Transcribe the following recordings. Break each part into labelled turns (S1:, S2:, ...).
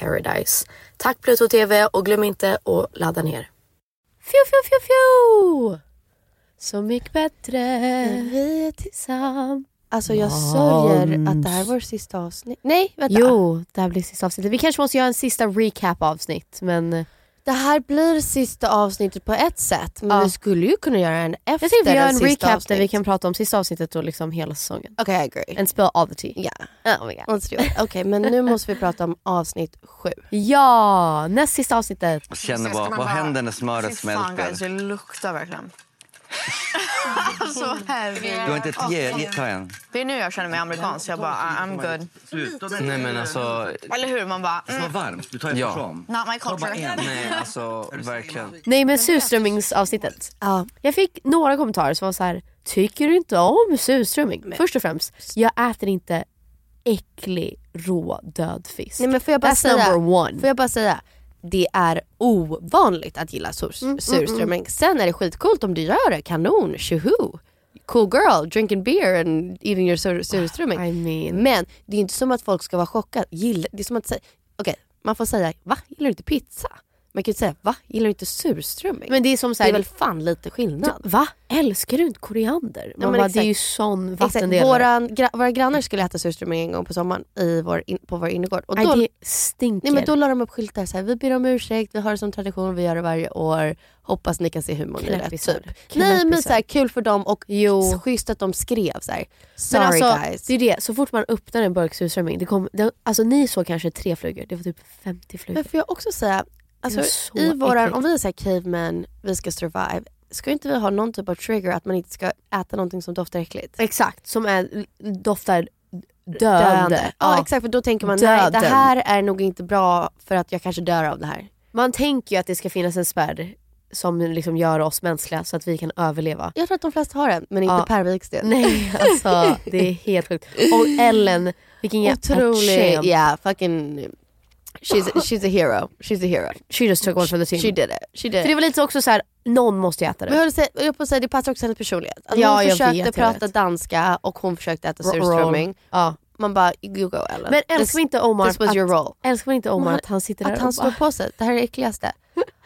S1: paradise. Tack Pluto TV och glöm inte att ladda ner.
S2: Fju, fju, fju, fju! Så mycket bättre när vi är tillsammans.
S3: Alltså jag sörjer att det här är vårt sista avsnitt. Nej vänta.
S2: Jo, det här blir sista avsnittet. Vi kanske måste göra en sista recap avsnitt. Men
S3: Det här blir sista avsnittet på ett sätt. Men
S2: Ja.
S3: vi skulle ju kunna göra en efter
S2: jag tänkte vi gör en
S3: den sista
S2: recap där
S3: avsnitt.
S2: vi kan prata om sista avsnittet och liksom hela säsongen.
S3: Okej, I agree.
S2: En spill of the tea.
S3: Ja,
S2: Oh my God.
S3: let's do it. Okej, men nu måste vi prata om avsnitt sju.
S2: Ja, näst sista avsnittet.
S4: Känner bara, vad händer när smöret smälter?
S5: det luktar verkligen. så
S4: Du
S5: herregud.
S4: har inte ett ge, ge, ta en.
S5: Det är nu jag känner mig amerikansk. Jag bara, I- I'm good.
S4: Nej men alltså,
S5: Eller hur? Man bara, mm,
S6: var varmt. Du tar ett
S4: ja.
S5: not my culture.
S4: Nej alltså verkligen.
S2: Nej men surströmmingsavsnittet.
S3: Ja.
S2: Jag fick några kommentarer som var så här. tycker du inte om surströmming? Först och främst, jag äter inte äcklig rå död fisk.
S3: Nej men får jag bara
S2: That's
S3: säga,
S2: number one.
S3: Får jag bara säga, det är ovanligt att gilla sur,
S2: Mm,
S3: surströmming. Sen är det skitcoolt om du gör det, kanon, tjoho. Cool girl, drinking beer and eating your sur, surströmming.
S2: I mean.
S3: Men det är inte som att folk ska vara chockade. Gilla, det är som att säga, okej man får säga va, gillar du inte pizza? Man kan ju inte säga va, gillar du inte surströmming?
S2: Men det är som så
S3: det
S2: här,
S3: är väl fan lite skillnad.
S2: Va? Älskar du inte koriander? Man
S3: men
S2: bara,
S3: exakt.
S2: det är ju sån
S3: Exakt,
S2: vattendelare.
S3: våran, gra, våra grannar skulle äta surströmming en gång på sommaren i vår in, på vår innergård. Och
S2: Nej,
S3: då,
S2: det stinker.
S3: Nej men då la de upp skyltar så här, vi ber om ursäkt, vi har det som tradition, vi gör det varje år. Hoppas ni kan se humorn i det.
S2: Knäppisar.
S3: Typ. Nej men
S2: Knäppisar.
S3: så här, kul för dem och
S2: Jo.
S3: schysst att de skrev så här. Sorry
S2: Men alltså,
S3: guys.
S2: det är det. Så fort man öppnar en burk surströmming, det kom, det, alltså ni såg kanske tre flugor, det var typ 50 flugor.
S3: Men får jag också säga, alltså,
S2: Det var så
S3: i våran,
S2: äckligt.
S3: om vi är så här caveman, vi ska survive.
S7: ska inte vi ha någon typ av trigger att man inte ska äta någonting som doftar äckligt?
S3: Exakt, som är, doftar döende.
S7: Döende. Ja, exakt för då tänker man nej det
S3: Döden.
S7: här är nog inte bra för att jag kanske dör av det här.
S3: Man tänker ju att det ska finnas en spärr som liksom gör oss mänskliga så att vi kan överleva.
S7: Jag tror att de flesta har en men inte
S3: Ja.
S7: Per Wiksten.
S3: Nej, alltså det är helt sjukt. Och Ellen, vilken jävla
S7: Otrolig,
S3: champ.
S7: yeah fucking she's, she's a hero. She's a hero.
S3: She just took one for the team.
S7: She did it. She did
S3: För det
S7: it.
S3: var lite också så här, någon måste ju äta
S7: Men jag
S3: det.
S7: höll sä- jag höll på att säga, det passar också hennes personlighet. Att
S3: Ja,
S7: hon
S3: jag
S7: försökte
S3: vet, jag
S7: prata
S3: vet.
S7: danska och hon försökte äta
S3: Ro- roll.
S7: surströmming.
S3: Ja.
S7: Man bara, you go Ellen.
S3: Men
S7: This-
S3: älskar vi inte Omar
S7: This was your role.
S3: att, älskar vi inte Omar
S7: Men han-
S3: att han sitter där
S7: Att han
S3: och
S7: står på sig, det här är det äckligaste.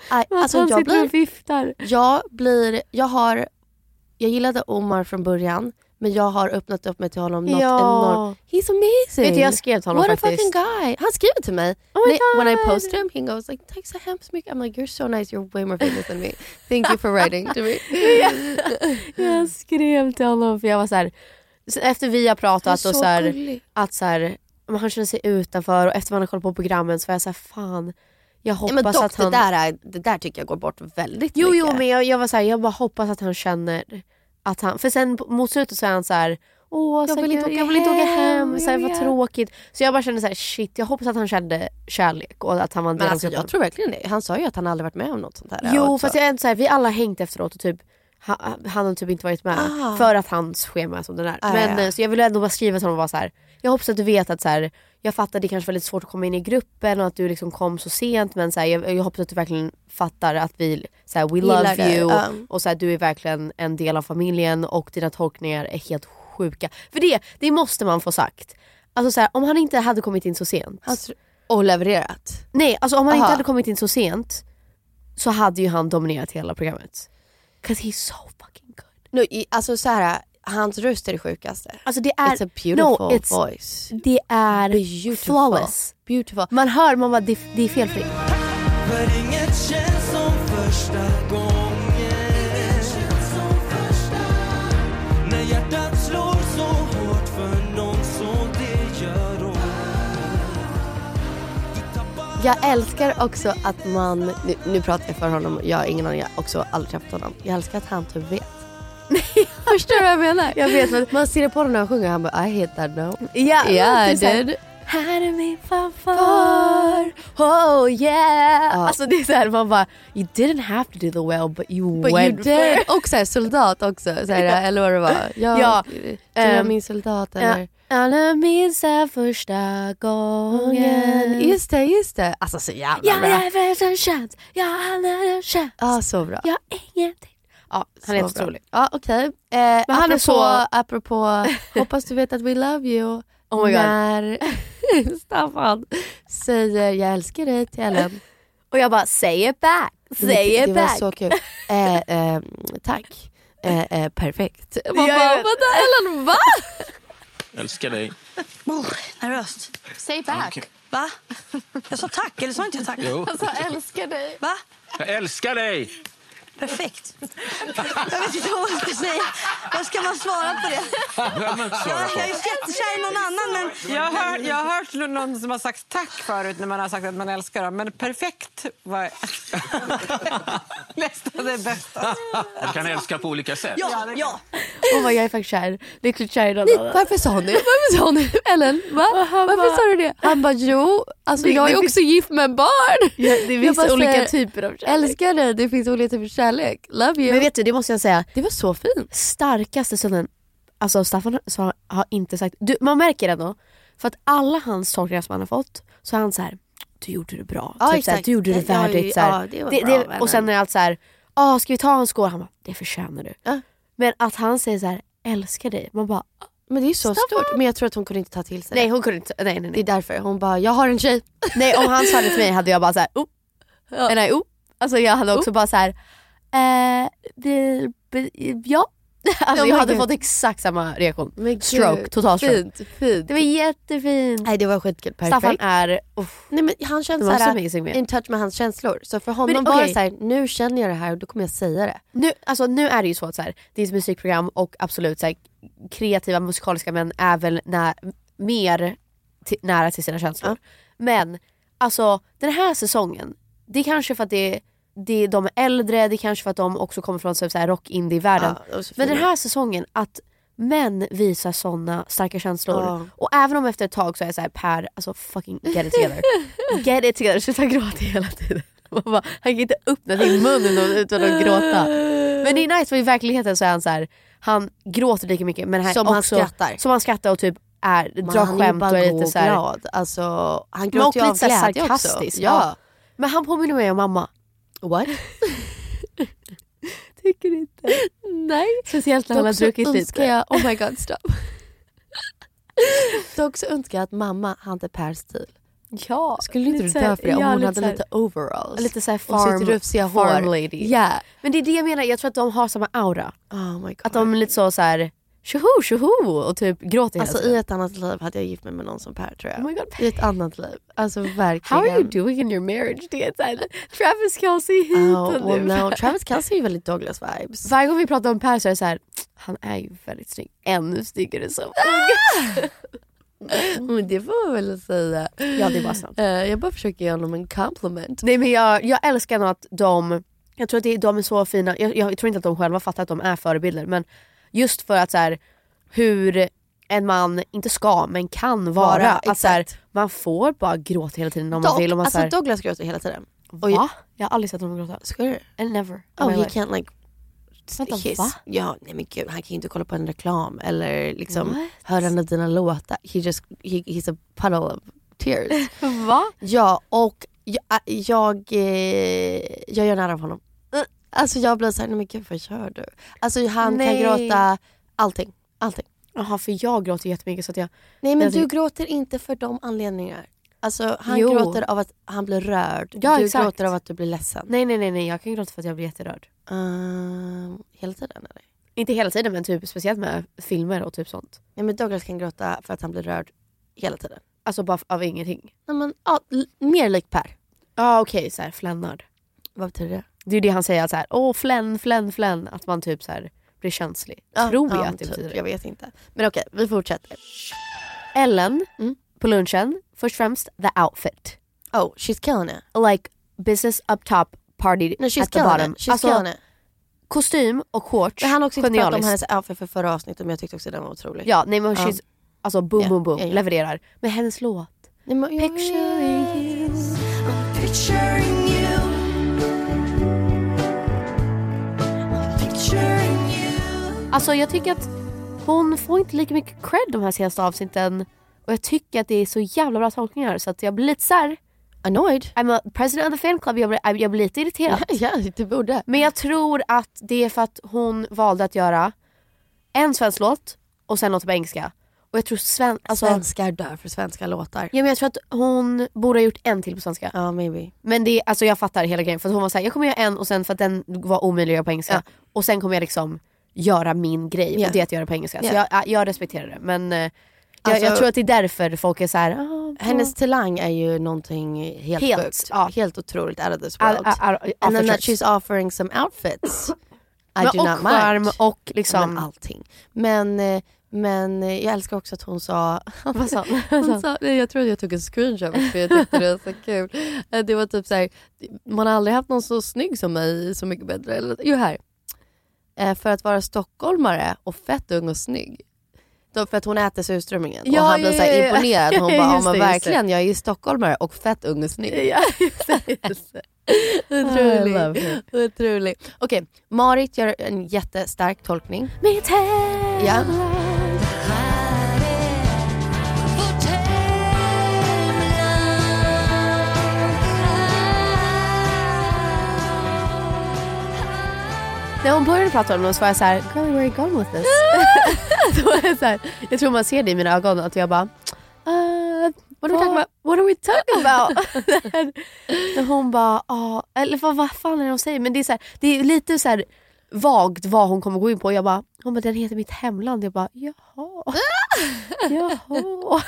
S7: Aj, alltså
S3: han
S7: jag
S3: sitter
S7: blir,
S3: och viftar.
S7: jag blir, jag har, jag gillade Omar från början men jag har öppnat upp mig till honom något
S3: Ja.
S7: enormt. He's amazing.
S3: Vet du, jag skrev till honom
S7: What a
S3: faktiskt.
S7: fucking guy. Han skriver till mig.
S3: Oh my
S7: När- When I
S3: God.
S7: posted him he goes like tack så hemskt mycket. I'm like you're so nice, you're way more famous than me. Thank you for writing to me.
S3: Jag skrev till honom för jag var så här, så efter vi har
S7: Han är
S3: pratat
S7: så
S3: och så här,
S7: gullig.
S3: att så här, men han känner sig utanför och efter man har kollat på programmen så var jag så här, fan jag
S7: Ja,
S3: hoppas
S7: men dock,
S3: att han...
S7: det, där är, det där tycker jag går bort väldigt
S3: Jo,
S7: mycket.
S3: jo men jag, jag var så här, jag bara hoppas att han känner att han, för sen på- mot slutet så är han så här. Åh,
S7: Jag
S3: så
S7: vill inte
S3: gud,
S7: åka
S3: jag vill inte åka
S7: hem,
S3: hem, så här,
S7: jag
S3: vad
S7: vet."
S3: tråkigt. Så jag bara kände så här, shit jag hoppas att han kände kärlek och att han var en del
S7: men
S3: av
S7: alltså, jag
S3: gruppen.
S7: tror verkligen det. Han sa ju att han aldrig varit med om något sånt här.
S3: Jo
S7: också.
S3: fast jag är ändå så här, vi alla har hängt efteråt och typ ha- han har typ inte varit med
S7: Ah.
S3: för att hans schema är som den är.
S7: Ah,
S3: men
S7: ja.
S3: eh, så jag ville ändå bara skriva till honom och vara så här. jag hoppas att du vet att så här, jag fattar att det kanske var lite svårt att komma in i gruppen och att du liksom kom så sent men så här, jag, jag hoppas att du verkligen fattar att vi, så här, we love
S7: Gillar det,
S3: you
S7: ja.
S3: och så här, du är verkligen en del av familjen och dina tolkningar är helt sjuka. För det, det måste man få sagt. Alltså så här, om han inte hade kommit in så sent.
S7: Alltså, och levererat.
S3: Nej, alltså om han
S7: Aha.
S3: inte hade kommit in så sent så hade ju han dominerat hela programmet. Cause he's so fucking
S7: No,
S3: good.
S7: i, alltså så här, hans röst är det sjukaste.
S3: Alltså det är...
S7: It's a beautiful
S3: no, it's,
S7: voice.
S3: Det är
S7: Beautiful.
S3: flawless.
S7: Beautiful.
S3: Man hör, man bara, det, det är felfritt.
S7: Jag älskar också att man, nu, nu pratar jag för honom, jag har ingen aning, jag har också aldrig träffat honom. Jag älskar att han typ vet. Förstår du vad jag menar?
S3: Jag vet, men-
S7: Man ser det på honom när han sjunger, han bara I hate that no.
S3: Ja,
S7: Yeah,
S3: det är så här,
S7: dude.
S3: Här är min farfar, oh yeah.
S7: Ja.
S3: Alltså det är såhär, man bara, you didn't have to do the well but you
S7: But you
S3: went for
S7: did.
S3: it.
S7: Och såhär soldat också, så här, eller vad det var. Ja,
S3: Ja,
S7: Du är
S3: ehm,
S7: min soldat
S3: ja.
S7: eller?
S3: Alla minns den första gången.
S7: Just det, just det. Alltså så jävla
S3: Ja,
S7: bra.
S3: jag vet en chans, jag har en chans.
S7: Ja, så bra.
S3: Jag har ingenting. Ja,
S7: Han är helt otrolig. Ja okej. Eh,
S3: Men han är
S7: apropå,
S3: så-
S7: apropå, hoppas du vet att we love you.
S3: Oh my God.
S7: När Staffan säger jag älskar dig till Ellen.
S3: Och jag bara, say it back, say
S7: det,
S3: it
S7: det var
S3: back.
S7: så kul. Eh, eh, tack. Eh, eh, perfekt. Man
S3: Ja, jag
S7: bara,
S3: vet.
S7: vadå Ellen va?
S8: Älskar dig.
S4: Nervöst.
S7: Say back.
S4: Va? Jag sa tack, eller sa inte jag tack?
S8: Jo.
S7: Alltså älskar dig.
S4: Va?
S8: Jag älskar dig!
S4: Perfekt. Jag vet inte vad man ska säga. Vad ska man svara på det? Jag är jättekär i någon annan, men...
S5: Jag har, hört, jag har hört någon som har sagt tack förut när man har sagt att man älskar dem, men perfekt var nästan det bästa.
S8: Man kan älska på olika sätt.
S4: Ja, ja.
S3: Hon bara, jag är faktiskt kär, lyckligt kär i någon
S7: Nej,
S3: annan.
S7: varför sa hon det? Varför sa hon det? Ellen, va?
S3: Och han
S7: Varför
S3: bara-
S7: sa du det? Han bara jo, alltså
S3: Det-
S7: jag
S3: det
S7: är
S3: finns-
S7: också gift med barn.
S3: Ja, det
S7: Jag
S3: finns
S7: bara
S3: olika
S7: säger,
S3: typer av kärlek.
S7: Älskar dig, det finns olika typer av kärlek. Love you.
S3: Men vet du, det måste jag säga,
S7: det var så fint.
S3: starkaste stunden, alltså Staffan sa, har inte sagt, du, man märker ändå, för att alla hans tolkningar som han har fått, så är han så här, du gjorde det bra,
S7: Ja,
S3: typ så här,
S7: exakt.
S3: du gjorde det
S7: Ja, ja,
S3: värdigt. så
S7: ja,
S3: här.
S7: det var bra, vännen.
S3: och sen är allt så här, ah, ska vi ta en skål? Han bara, det förtjänar du.
S7: Ja.
S3: Men att han säger så här, älskar dig, man bara,
S7: Men det är så
S3: Staffan.
S7: stort. Men jag tror att hon kunde inte ta till sig
S3: nej
S7: det.
S3: hon kunde inte, nej nej nej.
S7: Det är därför. Hon bara, jag har en tjej.
S3: Nej om han sa det till mig hade jag bara såhär, oh.
S7: Ja.
S3: nej oh. Alltså jag hade också bara såhär, eh, det- be- ja. Alltså
S7: Oh
S3: jag
S7: my
S3: hade
S7: God.
S3: fått exakt samma reaktion.
S7: Men gud,
S3: stroke, total stroke.
S7: Fint, fint.
S3: Det var jättefint.
S7: Nej det var skitkul. Perfekt.
S3: Staffan är, uff,
S7: Nej, men han känns
S3: det var så
S7: såhär,
S3: amazing med.
S7: in touch med hans känslor. Så för honom
S3: Men,
S7: var det
S3: okej.
S7: såhär, nu känner jag det här och då kommer jag säga det.
S3: Nu, alltså, nu är det ju så att så här, det är ett musikprogram och absolut så här, kreativa musikaliska män är väl nä- mer ti- nära till sina känslor. Men alltså den här säsongen, det är kanske för att det det, de är äldre, det är kanske för att de också kommer från typ så här rock-indie-världen.
S2: Ja, de är så
S3: Men den
S2: fina.
S3: här säsongen, att män visar såna starka känslor.
S2: Ja.
S3: Och även om efter ett tag så är jag så här, Per, alltså fucking get it together. get it together, sluta gråta hela tiden. Man bara, han kan inte öppna sin mun och- utan att gråta. Men det är nice för i verkligheten så är han så här, han gråter lika mycket men han
S7: Som
S3: också,
S7: han skrattar.
S3: Som han skrattar och typ är,
S7: Men
S3: drar
S7: han är ju
S3: skämt
S7: bara
S3: och är
S7: god
S3: lite
S7: och
S3: så här,
S7: glad. Alltså, han
S3: Men
S7: gråter
S3: och
S7: ju av
S3: lite så här
S7: glädje också.
S3: sarkastisk.
S7: Ja.
S3: Ja. Men han påminner mig om mamma.
S7: What?
S3: Tycker inte.
S7: Nej.
S3: Speciellt när han har
S7: Dock så
S3: druckit lite.
S7: önskar Jag, oh my god stop. Dock så önskar jag att mamma hade Pers stil.
S3: Ja,
S7: Skulle inte du
S3: lite så här-
S7: dö för det om
S3: ja,
S7: hon
S3: lite
S7: hade
S3: så här-
S7: lite overalls?
S3: Lite såhär
S7: och
S3: farm,
S7: sitt rufsiga hår.
S3: farm lady.
S7: Ja.
S3: Men det är det jag menar, jag tror att de har samma aura.
S7: Oh my god.
S3: Att de är lite så såhär tjoho tjoho och typ gråter
S7: Alltså
S3: hela tiden.
S7: i ett annat liv hade jag gift mig med någon som Per tror jag.
S3: Oh my god.
S7: I ett annat liv. Alltså verkligen.
S3: How are you doing in your marriage? Det är såhär Travis Kelce hit
S7: Oh,
S3: och
S7: well,
S3: nu-
S7: no. Travis Kelce är ju väldigt Douglas vibes.
S3: Varje gång vi pratar om Per så är det såhär, han är ju väldigt snygg. Ännu snyggare som
S7: Mm, Men det får man väl säga.
S3: Ja, det är bara sant.
S7: Eh, jag bara försöker ge honom en compliment.
S3: Nej men jag, jag älskar nog att de, jag tror att det, de är så fina, jag, jag tror inte att de själva fattar att de är förebilder men just för att så här, hur en man, inte ska men kan vara.
S7: Vara,
S3: att så här, man får bara gråta hela tiden om man
S7: Dock,
S3: vill. Och man,
S7: alltså
S3: så här,
S7: Douglas gråter hela tiden.
S3: va? Jag, har aldrig sett honom gråta.
S7: Ska du?
S3: And never.
S7: Oh,
S3: in
S7: he
S3: my life.
S7: can't like
S3: Vänta,
S7: kiss.
S3: va?
S7: Ja, nej men gud, han kan ju inte kolla på en reklam eller liksom
S3: What?
S7: höra en av dina låtar. He just, he, he's a puddle of tears.
S3: Va?
S7: ja, och jag, äh, jag, eh, jag gör nära av honom. Eh, Alltså jag blir såhär, nej men gud vad gör du? Alltså han
S3: Nej.
S7: kan gråta allting. allting. Alltså,
S3: Jaha för jag gråter jättemycket så att jag...
S7: Nej men
S3: jag
S7: du gråter inte för de anledningar. Alltså han
S3: Jo.
S7: gråter av att han blir rörd.
S3: Ja,
S7: du
S3: exakt.
S7: gråter av att du blir ledsen.
S3: Nej nej nej nej jag kan gråta för att jag blir jätterörd.
S7: Ehm, hela tiden eller?
S3: Inte hela tiden men typ speciellt med filmer och typ sånt.
S7: Nej men Douglas kan gråta för att han blir rörd hela tiden.
S3: Alltså bara av ingenting.
S7: Nej, men, ja, l- mer lik Per.
S3: Ja okej såhär flännad.
S7: Vad betyder det?
S3: Det är ju det han säger, att så här, åh flän, flän, flän. Att man typ så här, blir känslig. Tror jag att det
S7: typ.
S3: betyder.
S7: Jag vet inte. Men okej, vi fortsätter.
S3: Ellen
S7: Mm.
S3: på lunchen, först och främst the outfit.
S7: Oh, she's killing it.
S3: Like business up top, party
S7: No, she's
S3: at the
S7: killing
S3: bottom. Alltså,
S7: it. She's killing it.
S3: kostym och shorts,
S7: Jag hann också inte prata om
S3: genialiskt.
S7: hennes outfit för förra avsnittet men jag tyckte också den var otrolig.
S3: Ja, nej men
S7: Ja.
S3: she's, alltså boom,
S7: Ja,
S3: boom, boom,
S7: ja, ja.
S3: levererar. Men hennes låt,
S7: Nej, men jag vet.
S3: picturing you.
S4: I'm picturing you. I'm picturing you.
S3: Alltså jag tycker att hon får inte lika mycket cred de här senaste avsnitten. Och jag tycker att det är så jävla bra tolkningar så att jag blir lite såhär,
S7: Annoyed?
S3: I'm a president of the fan club, jag blir, jag blir lite irriterad.
S7: ja, du borde.
S3: Men jag tror att det är för att hon valde att göra en svensk låt och sen låt på engelska. Och jag tror sven... Alltså,
S7: Svenskar dör för svenska låtar.
S3: Ja, men jag tror att hon borde ha gjort en till på svenska.
S7: Ja, maybe.
S3: Men det, alltså jag fattar hela grejen. För att hon var såhär, jag kommer göra en och sen för att den var omöjlig att göra på engelska. Och sen kommer jag liksom göra min grej
S7: Ja.
S3: och det är att göra på engelska.
S7: Ja.
S3: Så jag, ja, jag respekterar det. Men eh, jag,
S7: Alltså-
S3: jag tror att det är därför folk är såhär, ah,
S7: Hennes talang är ju någonting helt,
S3: Helt,
S7: sjukt.
S3: ja.
S7: Helt otroligt out of this
S3: ah,
S7: world.
S3: ah, ah,
S7: And then
S3: after
S7: that
S3: church.
S7: she's offering some outfits. I
S3: Men
S7: do not
S3: Och charm
S7: mind.
S3: och
S7: Ja,
S3: liksom...
S7: men allting. Men, eh, men eh, jag älskar också att hon sa...
S3: Vad sa hon?
S7: hon sa nej, jag tror att jag tog en screenshot för jag tyckte det var så kul. Eh, Det var typ så här, man har aldrig haft någon så snygg som mig Så Mycket Bättre. Eller, jo här. Eh, För att vara stockholmare och fett ung och snygg. Då, för att hon äter surströmmingen
S3: Ja,
S7: och han blir
S3: ja,
S7: så här
S3: ja, ja.
S7: imponerad. Hon bara, ja
S3: Just
S7: men
S3: det, just
S7: verkligen jag är ju stockholmare och fett ung och snygg.
S3: Ja, I love
S7: Otrolig.
S3: her.
S7: Otrolig. Okej, Marit gör en jättestark tolkning.
S3: Mitt hem.
S7: Ja.
S3: När hon började prata om dem så var jag såhär, girl where are you going with this? så var jag, så här, jag tror man ser det i mina ögon att jag bara, uh, what, are we talking about? what are we talking about? Men hon bara, ah, eller vad, vad fan är det hon säger? Men det är, så här, det är lite så här vagt vad hon kommer gå in på. Jag bara, hon bara, den heter mitt hemland. Jag bara, jaha. jaha.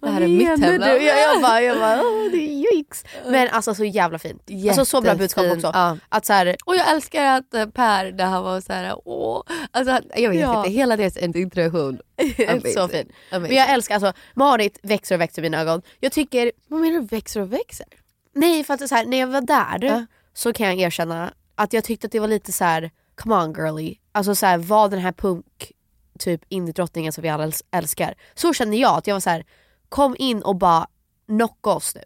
S7: Det här
S3: Vad
S7: är mitt
S3: menar
S7: hemland.
S3: du? Jag, jag bara, jag bara oh, det är yikes. Men alltså så jävla fint. Alltså så bra budskap
S7: Jättefin,
S3: också.
S7: ja.
S3: Att så här,
S7: Och jag älskar att eh, Per, där han var så här, åh. Alltså, han- jag vet
S3: Ja.
S7: inte, hela deras introduktion. Amazing.
S3: så fin.
S7: Amazing.
S3: Men jag älskar alltså, Marit växer och växer i mina ögon. Jag tycker,
S7: Vad menar du växer och växer?
S3: nej för att det är så här, när jag var där
S7: Ja.
S3: så kan jag erkänna att jag tyckte att det var lite så här: come on girly. Alltså så här, var den här punk typ indiedrottningen som vi alla äls- älskar. Så kände jag att jag var så här: kom in och bara knocka oss nu.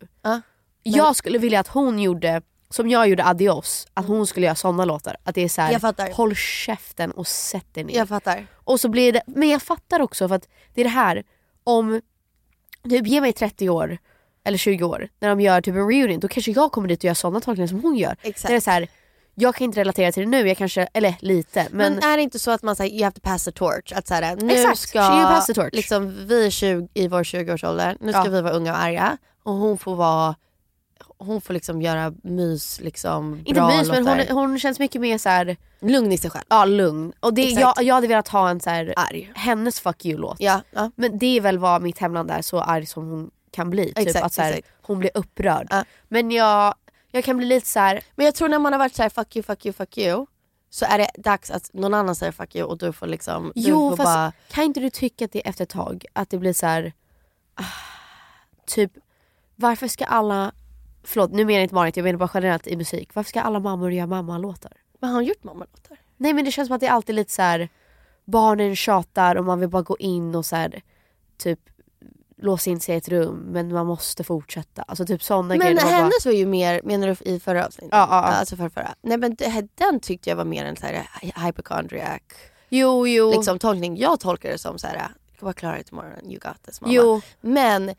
S3: Jag skulle vilja att hon gjorde som jag gjorde Adios, att hon skulle göra sådana låtar. Att det är
S7: Jag
S3: såhär,
S7: fattar.
S3: håll käften och sätt dig ner.
S7: Jag fattar.
S3: Och så blir det, men jag fattar också för att det är det här, om du ger mig 30 år eller 20 år när de gör typ en reunion då kanske jag kommer dit och gör sådana tolkningar som hon gör.
S7: Exakt.
S3: Där Det är så här, jag kan inte relatera till det nu, jag kanske, eller lite men, äh,
S7: Men, är det inte så att man säger you have to pass the torch? Att så här, nu
S3: Exakt,
S7: ska
S3: she has the torch.
S7: Liksom, vi är 20, i vår 20-årsålder, nu ska
S3: Ja.
S7: vi vara unga och arga och hon får vara hon får liksom göra mys, liksom,
S3: inte
S7: bra
S3: mys men hon,
S7: låtar.
S3: hon känns mycket mer så här,
S7: Lugn i sig själv.
S3: ja lugn. Och det, jag,
S7: Exakt.
S3: jag hade velat ha en så här,
S7: Arg.
S3: hennes fuck you-låt.
S7: Ja, ja.
S3: Men det är väl vad mitt hemland är, så arg som hon kan bli. Typ
S7: Exakt,
S3: att så här,
S7: exakt.
S3: hon blir upprörd.
S7: Ja.
S3: Men jag, jag kan bli lite så här.
S7: Men jag tror när man har varit så här fuck you, fuck you, fuck you så är det dags att någon annan säger fuck you och du får liksom, du
S3: Jo
S7: får
S3: fast
S7: bara
S3: kan inte du tycka att det efter ett tag att det blir så här. ah, typ varför ska alla, förlåt nu menar jag inte Marit jag menar bara generellt i musik. Varför ska alla mammor göra mammalåtar?
S7: men har hon gjort mammalåtar?
S3: Nej men det känns som att det är alltid lite så här. barnen tjatar och man vill bara gå in och så här, typ låsa in sig i ett rum men man måste fortsätta. Alltså typ sådana grejer.
S7: Men
S3: där man bara,
S7: hennes var ju mer, menar du i förra avsnittet?
S3: Ja, ja, ja.
S7: Alltså för förra. Nej men det, den tyckte jag var mer en så här hypochondriac
S3: jo jo.
S7: liksom, tolkning. Jag tolkar det som så här, jag bara klarar det imorgon, you got this mamma.
S3: jo.
S7: Men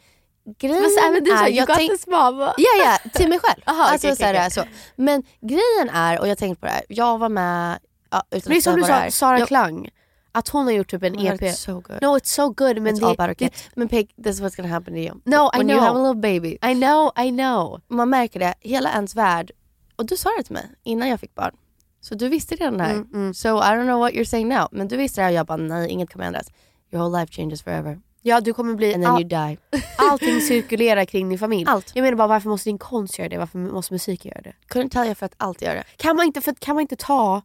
S7: grejen
S3: Men så, även du sa
S7: är,
S3: you got
S7: tänk-
S3: this mamma.
S7: Ja, ja, till mig själv.
S3: Aha,
S7: alltså,
S3: okej, okej,
S7: så här,
S3: okej.
S7: så. Men grejen är, och jag tänkte på det här, jag var med ja, utan
S3: Men det är
S7: att
S3: som du
S7: vara
S3: sa,
S7: där.
S3: Sara
S7: jag,
S3: Klang. Att hon har gjort typ en
S7: Hon har
S3: EP.
S7: varit so good.
S3: No it's so good men
S7: It's
S3: det...
S7: all about okay.
S3: det-
S7: Men Peg, this is what's gonna happen to you.
S3: No, I
S7: When you
S3: know.
S7: have a little baby.
S3: I know, I know.
S7: Man märker det, hela ens värld. Och du sa det till mig innan jag fick barn. Så du visste redan det här.
S3: Mm, mm.
S7: So I don't know what you're saying now. Men du visste det här och jag bara nej, inget kommer ändras. Your whole life changes forever.
S3: Ja du kommer bli...
S7: And then
S3: all,
S7: you die.
S3: allting cirkulerar kring din familj.
S7: Allt.
S3: Jag menar bara varför måste din konst göra det? Varför måste musiken göra det?
S7: Couldn't tell you för att allt gör det.
S3: Kan man inte, för, att- kan man inte ta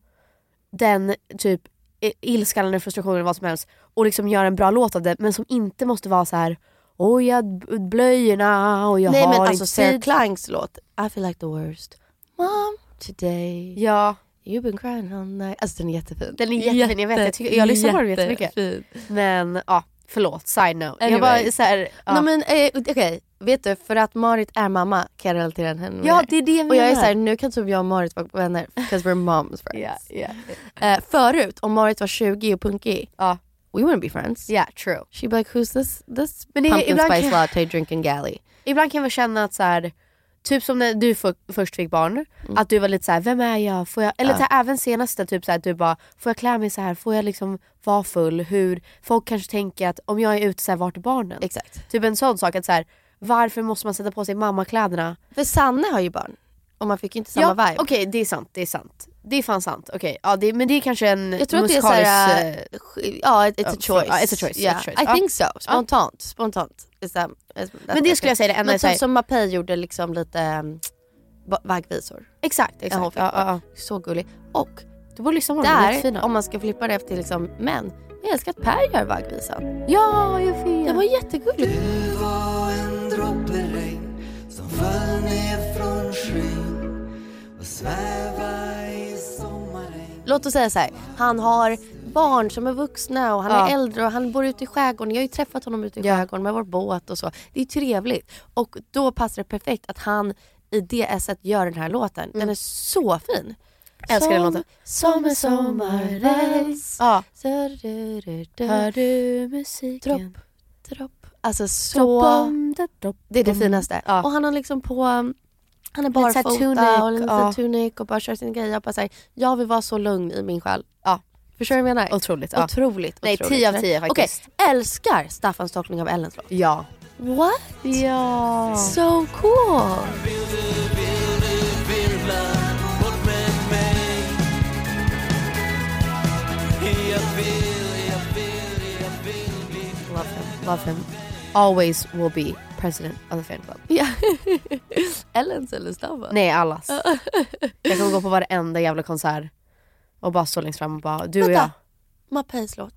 S3: den typ i- ilskan eller frustrationen eller vad som helst och liksom göra en bra låt av det men som inte måste vara så här Oj, jag b- blöjorna och jag
S7: nej
S3: har
S7: men
S3: inte
S7: alltså Sarah
S3: tid."
S7: Klangs låt, I feel like the worst. Mom, today.
S3: Ja,
S7: You've been crying all night. Alltså den är jättefin.
S3: den är jättefin. Jag vet, jag, tycker, jag lyssnar på den jättemycket.
S7: Jättefin.
S3: Men ja, förlåt. Side note. Jag
S7: Anyway.
S3: bara så här, ja.
S7: Nej, men eh, okej, vet du för att Marit är mamma kan jag relatera henne mer.
S3: ja, det är det jag
S7: Och jag är
S3: menar.
S7: såhär, nu kan typ jag och Marit vara vänner, because we're moms friends.
S3: Ja, ja.
S7: Eh, förut, om Marit var 20 och punkig,
S3: Ja.
S7: we wouldn't be friends.
S3: Yeah, true.
S7: She'd be like, who's this, this
S3: Men det är-
S7: pumpkin
S3: ibland
S7: spice
S3: kan-
S7: latte drinking galley?
S3: Ibland kan jag känna att så här, typ som när du för, först fick barn, att du var lite så här, vem är jag? Får jag? Eller
S7: Mm. Ja.
S3: så här, även senaste, typ så här, att du bara, får jag klä mig så här? Får jag liksom vara full? Hur? Folk kanske tänker att om jag är ute så här, vart är barnen?
S7: Exakt.
S3: Typ en sån sak att så här, varför måste man sätta på sig mammakläderna?
S7: För Sanne har ju barn, och man fick ju inte samma
S3: ja,
S7: vibe.
S3: Okej, det är sant, det är sant. Det är fan sant. Okej, ja, det, men det är kanske en
S7: Jag tror att det är
S3: musikalisk,
S7: såhär,
S3: eh,
S7: Ja, it, it's, a
S3: Ja,
S7: choice.
S3: ja, it's a choice,
S7: Yeah.
S3: it's a choice.
S7: I
S3: Ja.
S7: think so. Spontant. Spontant. Is that, is that
S3: Men det skulle jag säga, det enda
S7: Men
S3: är såhär-
S7: typ som Mapei gjorde liksom lite um, vaggvisor.
S3: Exakt,
S7: Ja, hon
S3: exakt.
S7: fick
S3: Ja, ja, ja.
S7: Så gullig. Och
S3: Du borde liksom lyssna på dem, de är
S7: där,
S3: jättefina.
S7: om man ska flippa det till liksom män. Jag älskar att Per gör vaggvisan.
S3: Ja, jag vet.
S7: Den var jättegullig. Låt oss säga så här. Han har barn som är vuxna och han
S3: Ja.
S7: är äldre och han bor ute i skärgården. Jag har ju träffat honom ute i
S3: Ja.
S7: skärgården med vår båt och så. Det är trevligt. Och då passar det perfekt att han i det sättet gör den här låten. Den är så fin.
S3: Mm. Älskar den
S7: Som-
S3: låten.
S7: Som en sommarens.
S3: Ja.
S7: Hör
S3: du musiken?
S7: Dropp, dropp. Alltså
S3: Så...
S7: så... Det är det finaste.
S3: Mm. Ja.
S7: Och han har liksom på... Han är
S3: Lite så här
S7: barfota
S3: tunic,
S7: och en liten
S3: ja.
S7: tunic och bara kör sin grej. Jag bara säger, jag vill vara så lugn i min själ.
S3: Ja.
S7: Förstår du vad jag menar?
S3: Otroligt. Ja.
S7: Otroligt.
S3: Nej,
S7: otroligt.
S3: 10 av 10 faktiskt.
S7: Okej, älskar Staffans tolkning av Ellens låt.
S3: ja.
S7: What?
S3: Ja.
S7: So cool!
S3: Love him. Love him. Always will be president of the fan club.
S7: Ja. Ellens eller Staffans?
S3: Nej, allas. jag kommer gå på varenda jävla konsert och bara stå längst fram och bara, du och jag.
S7: Vänta. Mapeis låt.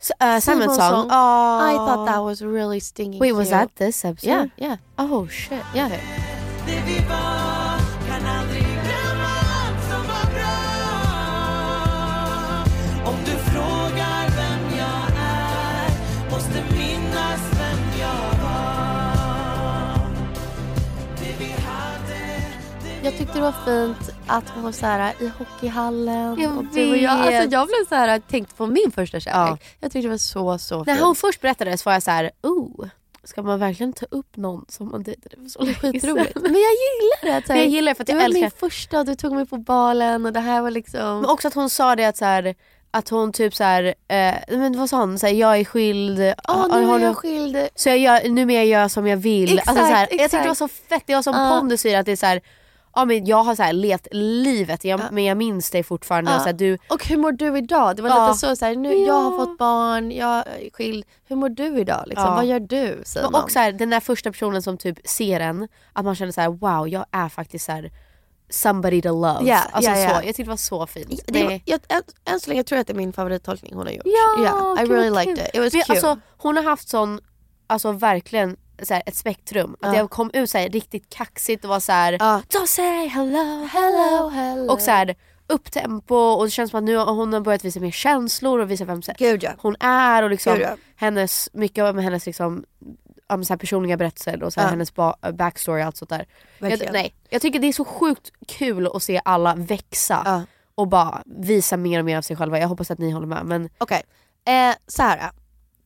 S3: S- äh, Simons
S7: Simons
S3: song. Ah,
S7: song.
S3: Åh.
S7: I thought that was really stinging
S3: Wait, was
S7: cute.
S3: that this episode?
S7: Yeah, yeah.
S3: Oh shit.
S7: Yeah.
S3: Okay.
S7: Det vi var kan aldrig jag tyckte det var fint att hon var så här i hockeyhallen.
S3: Jag
S7: och du och jag.
S3: vet.
S7: Alltså, jag blev så här, tänkte på min första kärlek. Jag tyckte det var så, så
S3: När
S7: fint.
S3: hon först berättade det så var jag så här, oh, ska man verkligen ta upp någon som man dejtade för så
S7: Det är
S3: länge
S7: skitroligt.
S3: sedan?"
S7: Men jag gillar det. Att, så här,
S3: Men jag gillar det för att
S7: du
S3: jag
S7: var
S3: älskar-
S7: min första och du tog mig på balen och det här var liksom...
S3: Men också att hon sa det att så här, att hon typ så här, eh, men vad sa hon? Så här, jag är skild.
S7: Ja, Ah, nu
S3: har
S7: är
S3: du-
S7: jag skild.
S3: Så jag gör, numera gör jag som jag vill.
S7: Exakt,
S3: alltså, så här,
S7: exakt.
S3: jag
S7: Ah.
S3: tyckte det var så fett, det var som
S7: Ja.
S3: pondus i det, att det är så här, ja, men jag har så här, levt livet
S7: Ah.
S3: jag, men jag minns dig fortfarande.
S7: Ja.
S3: Och så här, du,
S7: Och hur mår du idag? Det var
S3: Ja.
S7: lite så, så här, nu, jag har fått barn, jag är skild. Hur mår du idag? Liksom?
S3: Ja.
S7: Vad gör du? Säger
S3: men
S7: man.
S3: också så här, den där första personen som typ ser en, att man känner så här: wow jag är faktiskt så här, somebody to love.
S7: Ja,
S3: alltså,
S7: ja, ja.
S3: Så, jag tyckte det var så fint.
S7: det var,
S3: Nej.
S7: jag, än, än så länge tror jag att det är min favorittolkning hon har gjort.
S3: Ja,
S7: yeah, I
S3: gud,
S7: really
S3: vad
S7: liked
S3: kul.
S7: it. It was
S3: Men
S7: cute.
S3: Alltså, hon har haft sån, alltså verkligen så här, ett spektrum. Att
S7: Ja.
S3: jag kom ut så här, riktigt kaxigt och var så här, Don't say hello, hello, hello. Och så här, upptempo och det känns som att nu har hon har börjat visa mer känslor och visa vem så här, hon är och liksom
S7: Gud, ja.
S3: hennes, mycket av hennes liksom, ja, men så här personliga berättelser och så här,
S7: Ja.
S3: hennes ba- backstory och allt sånt där. Jag,
S7: Verkligen.
S3: nej, jag tycker det är så sjukt kul att se alla växa och bara visa mer och mer av sig själva. Jag hoppas att ni håller med. Men
S7: Okej, eh, Sara.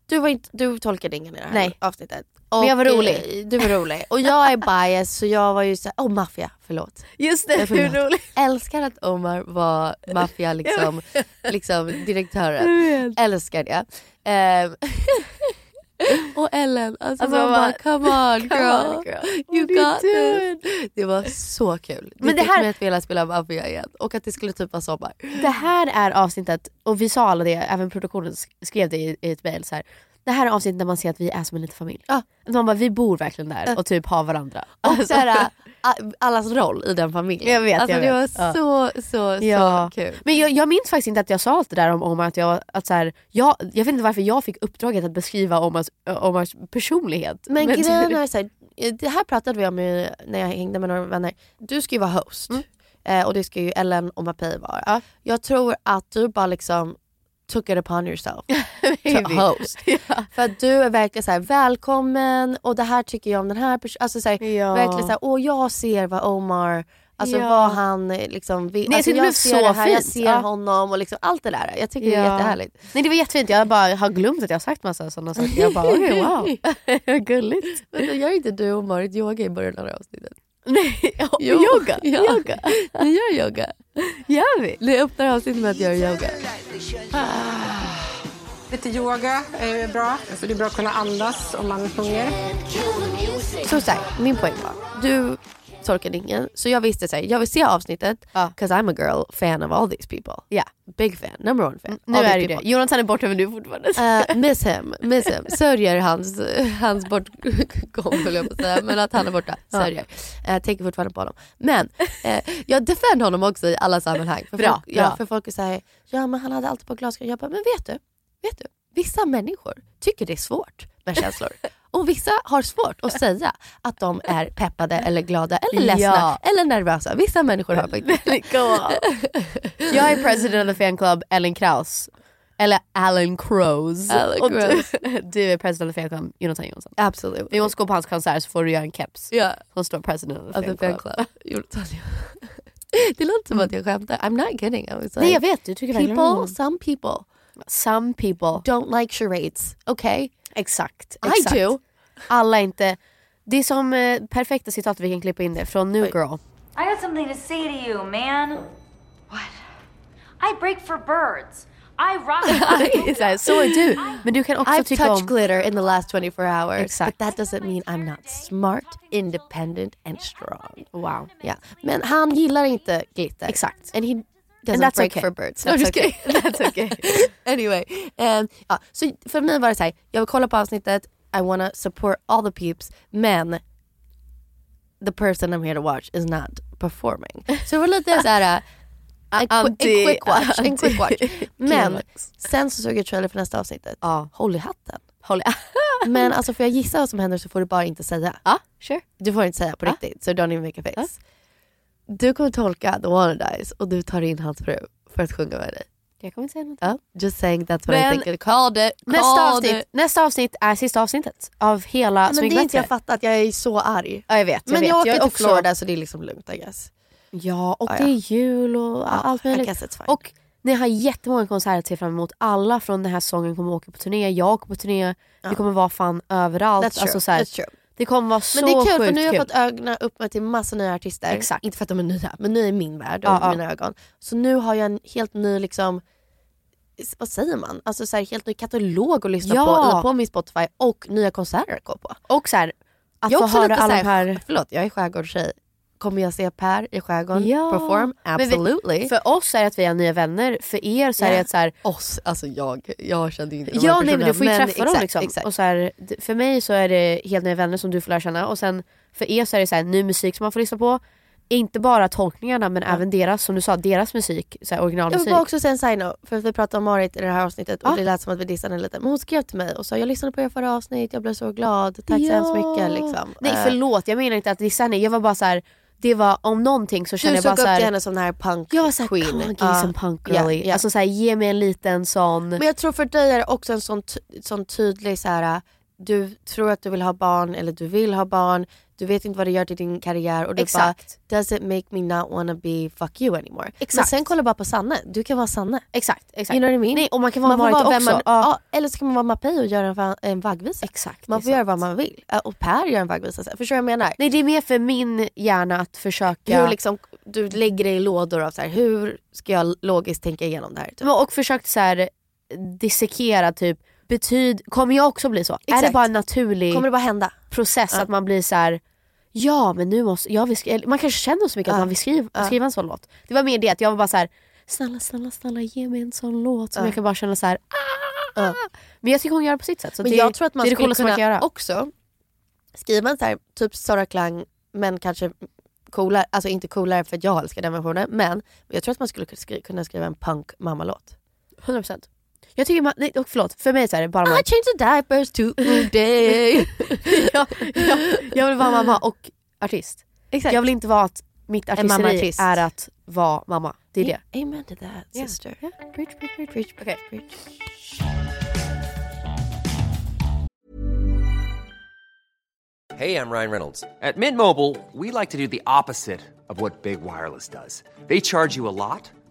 S7: Du, var inte, du tolkade ingen i det här
S3: Nej.
S7: avsnittet.
S3: Men jag var
S7: eh,
S3: rolig.
S7: Du var rolig. Och jag är bias så jag var ju såhär, oh maffia, förlåt.
S3: Just det,
S7: Eh, förlåt.
S3: hur roligt.
S7: Älskar att Omar var maffia liksom, liksom
S3: Jag
S7: direktören. Älskar det. Ehm, och Ellen, alltså,
S3: Alltså,
S7: man
S3: bara,
S7: bara come on
S3: come
S7: girl.
S3: on, girl.
S7: You
S3: What are
S7: got
S3: you
S7: this. Det var så kul. Det
S3: Men det
S7: fick
S3: här-
S7: mig att vilja spela maffia igen och att det skulle typ vara sommar.
S3: Det här är avsnittet, och vi sa alla det, även produktionen sk- skrev det i, i ett mejl. så här, Det här är avsnittet där man ser att vi är som en liten familj. Att Man bara, vi bor verkligen där och typ har varandra.
S7: Och så här, a- allas roll i den familjen.
S3: Jag vet,
S7: alltså,
S3: jag
S7: det
S3: vet.
S7: var
S3: Ja.
S7: så, så,
S3: Ja.
S7: så kul.
S3: Men jag, jag minns faktiskt inte att jag sa allt det där om Omar. Att jag, att så här, jag, jag vet inte varför jag fick uppdraget att beskriva Omars, ö, Omars personlighet.
S7: Men,
S3: du-
S7: grejen är så här, eh, det här pratade vi om ju när jag hängde med några vänner. Du ska ju vara host
S3: Mm.
S7: eh, och det ska ju Ellen och Mapei vara. Jag tror att du bara liksom took it upon yourself to
S3: Maybe.
S7: host. För att du är verkligen så här, välkommen och det här tycker jag om den här personen. Alltså så här,
S3: Ja.
S7: verkligen så här, åh jag ser vad Omar, alltså
S3: Ja.
S7: vad han eh, liksom vill.
S3: Nej, jag
S7: alltså,
S3: tyckte det blev
S7: ser
S3: så
S7: det här, jag
S3: fint.
S7: ser
S3: Ja.
S7: honom och liksom allt det där. Jag tycker det är
S3: Ja.
S7: jättehärligt.
S3: Nej det var jättefint, jag bara har glömt att jag har sagt massa sådana saker. Jag bara okej wow. Gulligt.
S7: Vänta, gör inte du och Marit yoga i början av det här avsnittet?
S3: Nej,
S7: Jo.
S3: yoga.
S7: Ja.
S3: yoga.
S7: Ni gör yoga?
S3: Gör vi?
S7: Ni öppnar avsnittet med att göra yoga.
S5: Ah. Lite yoga är bra, för det är bra att kunna andas om man är hungrig.
S7: Så såhär, min poäng var, du torkade ingen. Så jag visste såhär, jag vill se avsnittet, 'cause I'm a girl, fan of all these people.
S3: Ja. typ.
S7: Big fan, number one fan.
S3: Nu
S7: all
S3: är
S7: these
S3: det ju det.
S7: people.
S3: Jonathan är borta men du är fortfarande
S7: Eh, miss him, miss him. Sörjer hans, hans bortgång höll jag på att säga. Men att han är borta, sörjer. Eh, tänker fortfarande på honom. Men eh, jag defend honom också i alla sammanhang. För
S3: Bra,
S7: folk, Ja,
S3: bra.
S7: för folk är såhär, ja men han hade alltid på glasögon. Jag bara, men vet du, vet du? Vissa människor tycker det är svårt med känslor. Och vissa har svårt att säga att de är peppade eller glada eller ledsna
S3: Ja.
S7: eller nervösa. Vissa människor har faktiskt det.
S3: Go on. Jag är president of the fan club Ellen Kraus. Eller Alan Crows.
S7: Alan
S3: Och du,
S7: Crows.
S3: du är president of the fan club Jonathan Jonsson.
S7: Absolut.
S3: Vi måste gå på hans konsert så får du göra en keps.
S7: Ja.
S3: Som står president of the
S7: Att
S3: fan
S7: en
S3: club.
S7: fanclub gjorde Tanja. Det låter som att jag skämtar. I'm not kidding. I was like,
S3: Nej jag vet, du tycker verkligen om
S7: people,
S3: honom.
S7: some people
S3: Some people.
S7: don't like charades. Okay?
S3: Exakt.
S7: I
S3: exakt.
S7: do.
S3: Alla är inte... Det är som eh, perfekta citat vi kan klippa in det från New Girl.
S9: I got something to say to you, man. What? I break for birds. I rock.
S3: så, här, så är du. Men du kan också
S7: I've
S3: tycka
S7: touched
S3: om...
S7: glitter in the last 24 hours.
S3: Exakt.
S7: But that doesn't mean I'm not smart, independent and strong.
S3: Wow.
S7: Yeah. Men han gillar inte glitter.
S3: Exakt.
S7: And he doesn't
S3: And that's
S7: break
S3: okay.
S7: for birds.
S3: That's
S7: I'm just
S3: okay.
S7: kidding.
S3: That's okay.
S7: anyway. ehm, ja, så för mig var det så här, jag vill kolla på avsnittet, I wanna support all the peeps, men the person I'm here to watch is not performing. Så det var lite så här, eh, en, qui-
S3: Anti-
S7: en quick watch. En quick watch.
S3: anti-
S7: Men
S3: klimax.
S7: sen så såg jag trailer för nästa avsnittet.
S3: Ja.
S7: Håll i hatten.
S3: Håll
S7: Men alltså får jag gissa vad som händer så får du bara inte säga.
S3: Ja, sure.
S7: Du får inte säga på
S3: Ja.
S7: riktigt, så don't even make a face. Du kommer tolka The One Dies och du tar in hans fru för att sjunga med dig.
S3: Jag kommer inte säga något.
S7: Ja, Just saying that's what
S3: Men-
S7: I think it called it.
S3: Nästa
S7: Called
S3: avsnitt,
S7: it.
S3: nästa avsnitt är sista avsnittet av hela
S7: Men det är inte
S3: Smygvätter.
S7: jag fattat, jag är så arg.
S3: Ja, jag vet. Jag
S7: Men
S3: vet.
S7: jag åker
S3: är
S7: till
S3: också-
S7: Florida så det är liksom lugnt I guess.
S3: Ja, och
S7: Ja,
S3: det
S7: ja.
S3: är jul och allt
S7: I
S3: möjligt.
S7: guess it's fine.
S3: Och ni har jättemånga konserter att se fram emot. Alla från den här sången kommer åka på turné. Jag åker på turné. Vi kommer vara fan överallt.
S7: That's true,
S3: Alltså, så här,
S7: that's true.
S3: Det kommer vara så
S7: Men det är kul för
S3: sjukt
S7: nu har
S3: kul.
S7: jag fått ögonen upp mig till massa nya artister.
S3: Exakt.
S7: Inte för att de är nya, men nu är min värld och
S3: Ja, ja.
S7: mina ögon. Så nu har jag en helt ny, liksom, s- vad säger man? Alltså så här, helt ny katalog att lyssna
S3: Ja.
S7: på i- på min Spotify och nya konserter att gå på.
S3: Och så här, att
S7: jag är
S3: få
S7: också
S3: höra
S7: lite
S3: alla
S7: så här,
S3: de här-
S7: Förlåt, jag är skärgårdstjej. Kommer jag se Per i skärgården
S3: Ja.
S7: perform?
S3: Men vi-
S7: Absolutely.
S3: för oss är det att vi är nya vänner. För er så är det
S7: Yeah.
S3: att så här,
S7: oss, alltså jag, jag kände ju inte de här
S3: Ja nej,
S7: personerna,
S3: men du får ju träffa dem
S7: exakt,
S3: liksom.
S7: Exakt.
S3: Och så här, d- för mig så är det helt nya vänner som du får lära känna och sen för er så är det så här, ny musik som man får lyssna på. Inte bara tolkningarna men även deras, som du sa, deras musik, så här,
S7: Jag
S3: originalmusik.
S7: vill bara också säga en side-note, för att vi pratade om Marit i det här avsnittet och
S3: Ja.
S7: det lät som att vi dissade henne lite. Men hon skrev till mig och sa jag lyssnade på er förra avsnitt, jag blev så glad, tack så
S3: Ja.
S7: hemskt mycket. Liksom.
S3: Nej
S7: Eh,
S3: förlåt, jag menar inte att dissa henne. Jag var bara så här, det var om någonting så kände
S7: Du
S3: jag bara
S7: såg upp
S3: så
S7: till
S3: här,
S7: henne som den här punk
S3: Jag var såhär,
S7: queen.
S3: come on, give me
S7: Ja.
S3: some punk
S7: Ja,
S3: girly.
S7: ja.
S3: Alltså så här, ge mig en liten sån.
S7: Men jag tror för dig är det också en sån, ty- sån tydlig så här. du tror att du vill ha barn eller du vill ha barn, du vet inte vad det gör till din karriär och du
S3: Exakt.
S7: bara “does it make me not wanna be fuck you anymore?” Men
S3: Exakt.
S7: sen kolla bara på Sanne, du kan vara Sanne.
S3: Exakt, exakt.
S7: You know what I mean?
S3: Nej, och man kan vara
S7: får
S3: Marit
S7: vem
S3: också.
S7: Man,
S3: Ja.
S7: ja, eller så kan man vara Mapei och göra en, va- en vaggvisa.
S3: Exakt,
S7: man
S3: det är
S7: får göra
S3: sant.
S7: vad man vill. Äh, Och Per gör en vaggvisa. sen. Förstår du vad jag menar?
S3: Nej det är mer för min hjärna att försöka
S7: Hur liksom, du lägger dig i lådor av så här, hur ska jag logiskt tänka igenom det här? Typ.
S3: Men Och försökt så här dissekera typ, betyd, kommer jag också bli så? Är det
S7: Exakt.
S3: bara en naturlig
S7: Kommer det bara hända?
S3: process att man blir så här. ja men nu måste, jag vill skri- eller man kanske känner så mycket att man vill skriva, skriva en sån låt. Det var mer det att jag var bara så här. snälla snälla snälla ge mig en sån låt som jag kan bara känna så här. "Ah!" Men jag tycker hon gör det på sitt sätt. Så
S7: Men
S3: det,
S7: jag tror att man
S3: det är det
S7: skulle
S3: coolaste man kan
S7: kunna
S3: göra.
S7: också skriva en så här, typ Sara Klang men kanske coolare, alltså inte coolare för att jag älskar den versionen men jag tror att man skulle skri- kunna skriva en punk mammalåt.
S3: 100%. Jag tycker man, nej, och förlåt, för mig så är det bara
S7: I
S3: man,
S7: change the diapers today.
S3: jag, jag, jag vill vara mamma och artist.
S7: Exakt.
S3: Jag vill inte vara att mitt artisteri
S7: mamma-artist. Mm.
S3: är att vara mamma. Det är det.
S7: Amen to that sister.
S3: Preach, preach, preach, preach.
S7: Okay.
S10: Hey, I'm Ryan Reynolds. At Mint Mobile, we like to do the opposite of what Big Wireless does. They charge you a lot,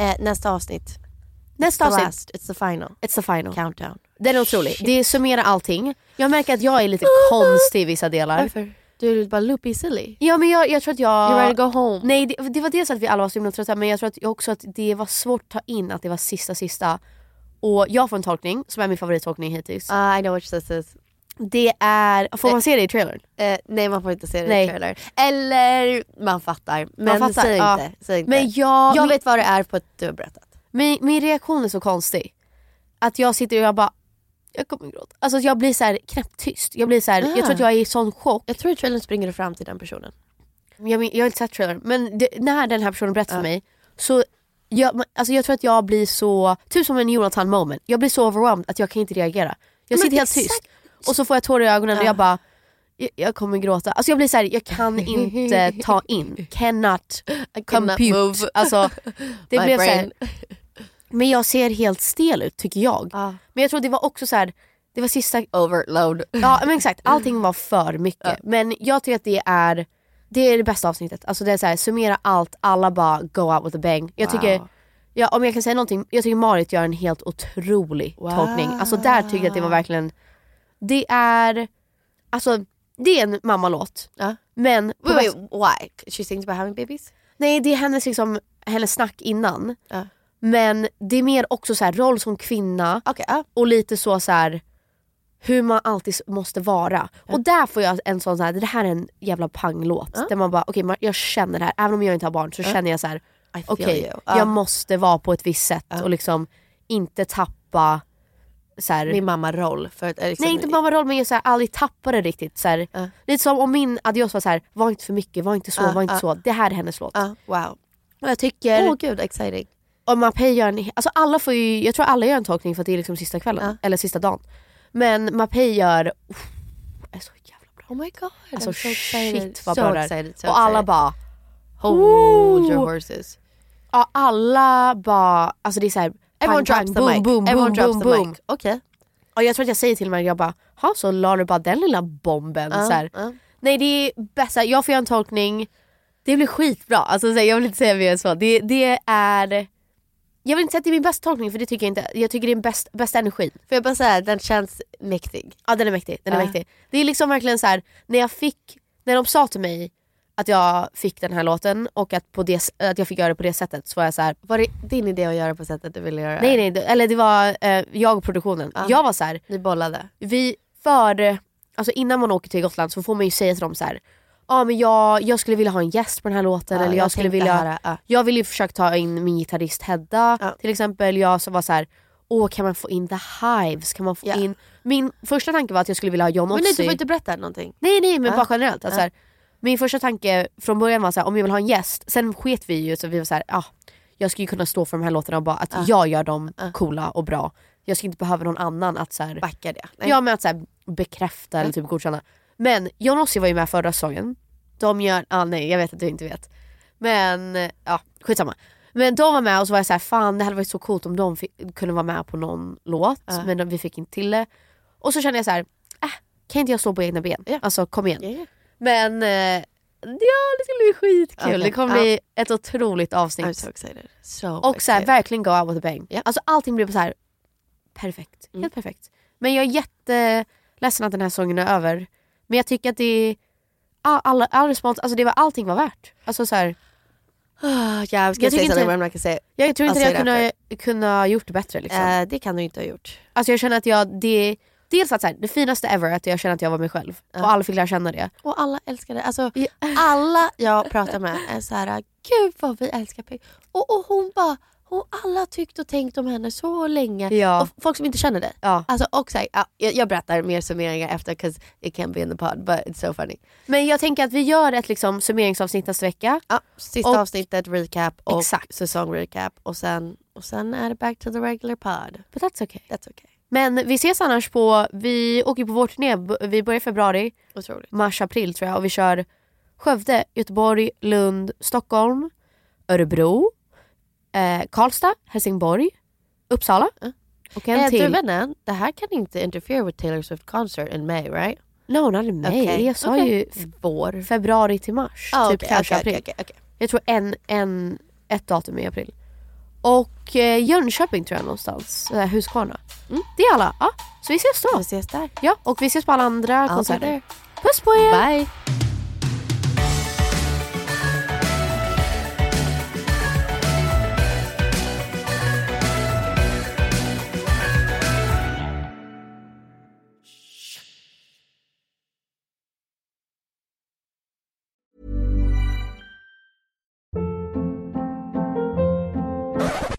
S7: Eh, nästa avsnitt.
S3: Nästa
S7: the
S3: avsnitt.
S7: last, It's the final.
S3: It's the final.
S7: Countdown.
S3: Den är otrolig. Det summerar allting. Jag märker att jag är lite konstig i vissa delar.
S7: Ah. Varför? Du är bara loopy silly.
S3: Ja men jag, jag tror att jag...
S7: You're ready to go home.
S3: Nej det, det var dels att vi alla var så himla trötta men jag tror att jag också att det var svårt att ta in att det var sista sista. Och jag får en tolkning som är min favorittolkning hittills.
S7: Uh, I know what this is.
S3: Det är... Får man se det i trailern?
S7: Eh, nej man får inte se det
S3: Nej.
S7: i trailer. Eller man fattar. Men
S3: fattar,
S7: Säg,
S3: ja.
S7: inte, säg inte.
S3: Men jag-
S7: jag
S3: men-
S7: vet vad det är på att du har berättat.
S3: Min, min reaktion är så konstig. Att jag sitter och jag bara... Jag kommer gråta. Alltså jag blir så här knäpptyst. Jag blir så här,
S7: Ah.
S3: jag tror att jag är i sån chock.
S7: Jag tror i trailern springer du fram till den personen.
S3: Jag, men- jag har inte sett trailern men det, när den här personen berättar för mig så jag, men- alltså jag tror att jag blir så, typ som en Jonathan moment. Jag blir så overwhelmed att jag kan inte reagera.
S7: Men
S3: Jag sitter helt
S7: exakt.
S3: tyst och så får jag tårar i ögonen och
S7: Ja.
S3: jag bara jag, jag kommer gråta. Alltså jag blir så här, jag kan inte ta in. Cannot
S7: cannot
S3: compute.
S7: move.
S3: Alltså, det
S7: My
S3: blev så här,
S7: brain.
S3: men jag ser helt stel ut tycker jag.
S7: Ja.
S3: Men jag tror det var också så här, det var sista...
S7: Overload.
S3: Ja men exakt, allting var för mycket. Men jag tycker att det är det, är det bästa avsnittet. Alltså det är så här, summera allt, alla bara go out with a bang. Jag
S7: Wow.
S3: tycker, ja, om jag kan säga någonting, jag tycker Marit gör en helt otrolig tolkning. Alltså där tycker jag att det var verkligen, det är, alltså det är en mammalåt. Men på
S7: Wait,
S3: bäst-
S7: wait, why? She sings about having babies?
S3: Nej det är hennes, liksom, hennes snack innan. Men det är mer också så här, roll som kvinna och lite så, så här, hur man alltid måste vara. Och där får jag en sån så här, det här är en jävla panglåt. Där man bara, okej man- jag känner det här. Även om jag inte har barn så känner jag så här,
S7: I feel
S3: okej
S7: you. Ja.
S3: jag måste vara på ett visst sätt och liksom inte tappa så här,
S7: Min mamma-roll. För att, eh, liksom,
S3: Nej inte bara roll men jag så här, aldrig tappar det riktigt. Så här, Lite som om min adios var så här, var inte för mycket, var inte så,
S7: Ja,
S3: var inte
S7: ja.
S3: så. Det här är hennes låt.
S7: Ja, wow.
S3: Och jag tycker,
S7: Åh gud, exciting.
S3: om Mapei gör en, alltså alla får ju, jag tror alla gör en tolkning för att det är liksom sista kvällen, eller sista dagen. Men Mapei gör, uff, är så jävla bra.
S7: Oh my god,
S3: Alltså
S7: I'm so excited.
S3: shit vad
S7: so
S3: bra det är.
S7: excited, so
S3: Och alla
S7: excited.
S3: bara,
S7: Hold your
S3: Ooh.
S7: horses.
S3: ja alla bara, alltså det är såhär,
S7: Everyone drops the
S3: boom,
S7: mic.
S3: boom,
S7: Everyone
S3: boom,
S7: drops
S3: boom,
S7: the
S3: boom.
S7: mic. Okej.
S3: Och jag tror att jag säger till mig, jag bara, ha så la du bara den lilla bomben
S7: Ja,
S3: så här.
S7: ja.
S3: Nej det är bästa, jag får göra en tolkning, det blir skitbra. Alltså så här, jag vill inte säga mer än så. Det, det är, jag vill inte säga att det är min bästa tolkning för det tycker jag inte. Jag tycker det är den bäst, bästa energin.
S7: Får jag bara säga, den känns mäktig.
S3: Ja den är mäktig, den är
S7: Ja.
S3: mäktig. Det är liksom verkligen så här, när jag fick, när de sa till mig att jag fick den här låten och att, på det, att jag fick göra det på det sättet så var jag så här,
S7: Var det din idé att göra på sättet du ville göra?
S3: nej nej, det- eller det var eh, jag och produktionen.
S7: Ja.
S3: Jag var så här,
S7: Ni Ah. bollade.
S3: vi före, alltså innan man åker till Gotland så får man ju säga till dem så här, ja men jag, jag skulle vilja ha en gäst på den här låten
S7: Ja,
S3: eller jag,
S7: Ah, jag
S3: skulle
S7: tänkte ah.
S3: vilja,
S7: här, ja.
S3: jag ville ju försöka ta in min gitarrist Hedda
S7: Ah.
S3: till exempel. Jag som var så här, åh kan man få in The Hives? Kan man få
S7: Ja.
S3: in... Min första tanke var att jag skulle vilja ha John
S7: Men nej, du
S3: Ossie.
S7: får inte berätta någonting.
S3: Nej nej men
S7: Ja.
S3: bara generellt. Alltså,
S7: Ja.
S3: så här, min första tanke från början var så här, om jag vill ha en gäst, sen sket vi ju så vi var så här, ah, jag skulle ju kunna stå för de här låtarna och bara att jag gör dem coola och bra. Jag skulle inte behöva någon annan att så här,
S7: Backa det. Nej.
S3: ja, men att så här, bekräfta eller typ godkänna. Men John Ossie var ju med förra säsongen. De gör, ah, nej jag vet att du inte vet. Men ja, skitsamma. Men de var med och så var jag så här, fan det hade varit så coolt om de fick, kunde vara med på någon låt
S7: Ja.
S3: men de, vi fick inte till det. Och så kände jag så här, äh, kan inte jag stå på egna ben? Alltså kom igen.
S7: Ja, ja.
S3: Men eh, ja det skulle bli skitkul.
S7: Okej,
S3: Det kommer
S7: ja.
S3: bli ett otroligt
S7: I'm
S3: avsnitt.
S7: so excited. So
S3: och så här,
S7: excited.
S3: verkligen go out with a bang. Alltså allting blev så här perfekt. Helt perfekt. Men jag är jätteledsen att den här sången är över. Men jag tycker att det är all, all, all respons, alltså det var, allting var värt. Alltså så här,
S7: Ah, ja, jag ska
S3: Jag
S7: jag
S3: tycker
S7: säga
S3: inte-
S7: something where I'm not gonna say it.
S3: jag tror inte
S7: I'll
S3: att jag
S7: say it
S3: kunde, kunde ha gjort det bättre. Liksom.
S7: after. Eh, det kan du inte ha gjort.
S3: Alltså jag känner att jag, det, dels att så här, det finaste ever är att jag känner att jag var mig själv. Och alla fick lära känna det.
S7: Och alla älskar det. Alltså, alla jag pratar med är så här, gud vad vi älskar Peg. Och, och hon bara, hon, alla har tyckt och tänkt om henne så länge.
S3: Ja.
S7: Och f- folk som inte känner dig.
S3: Ja.
S7: Alltså, och så här, ja, jag, jag berättar mer summeringar efter, 'cause it can be in the pod, but it's so funny.
S3: Men jag tänker att vi gör ett liksom, summeringsavsnitt nästa vecka.
S7: Ja, sista
S3: Och-
S7: avsnittet, recap och
S3: Exakt.
S7: säsong-recap. Och sen, och sen är det back to the regular pod.
S3: But that's okay.
S7: That's okay.
S3: Men vi ses annars på, vi åker på vår turné, B- vi börjar i februari,
S7: Otroligt.
S3: mars, april tror jag och vi kör Skövde, Göteborg, Lund, Stockholm, Örebro, eh, Karlstad, Helsingborg, Uppsala och en
S7: Eh, Du
S3: till.
S7: vännen, det här kan inte interfere with Taylor Swift concert in May right?
S3: No, nej, nej.
S7: Okej,
S3: jag sa
S7: okej.
S3: ju f-
S7: Vår.
S3: februari till mars.
S7: Ah,
S3: typ
S7: okej,
S3: kanske
S7: okej,
S3: april.
S7: okej, okej, okej.
S3: Jag tror en, en, ett datum i april. och eh, Jönköping tror jag någonstans. Eh, Huskvarna. Mm, det är alla. Ja, så vi ses då. Vi ses där. Ja, och vi ses på alla andra
S7: Ja,
S3: konserter.
S7: där.
S3: Puss på er. Bye.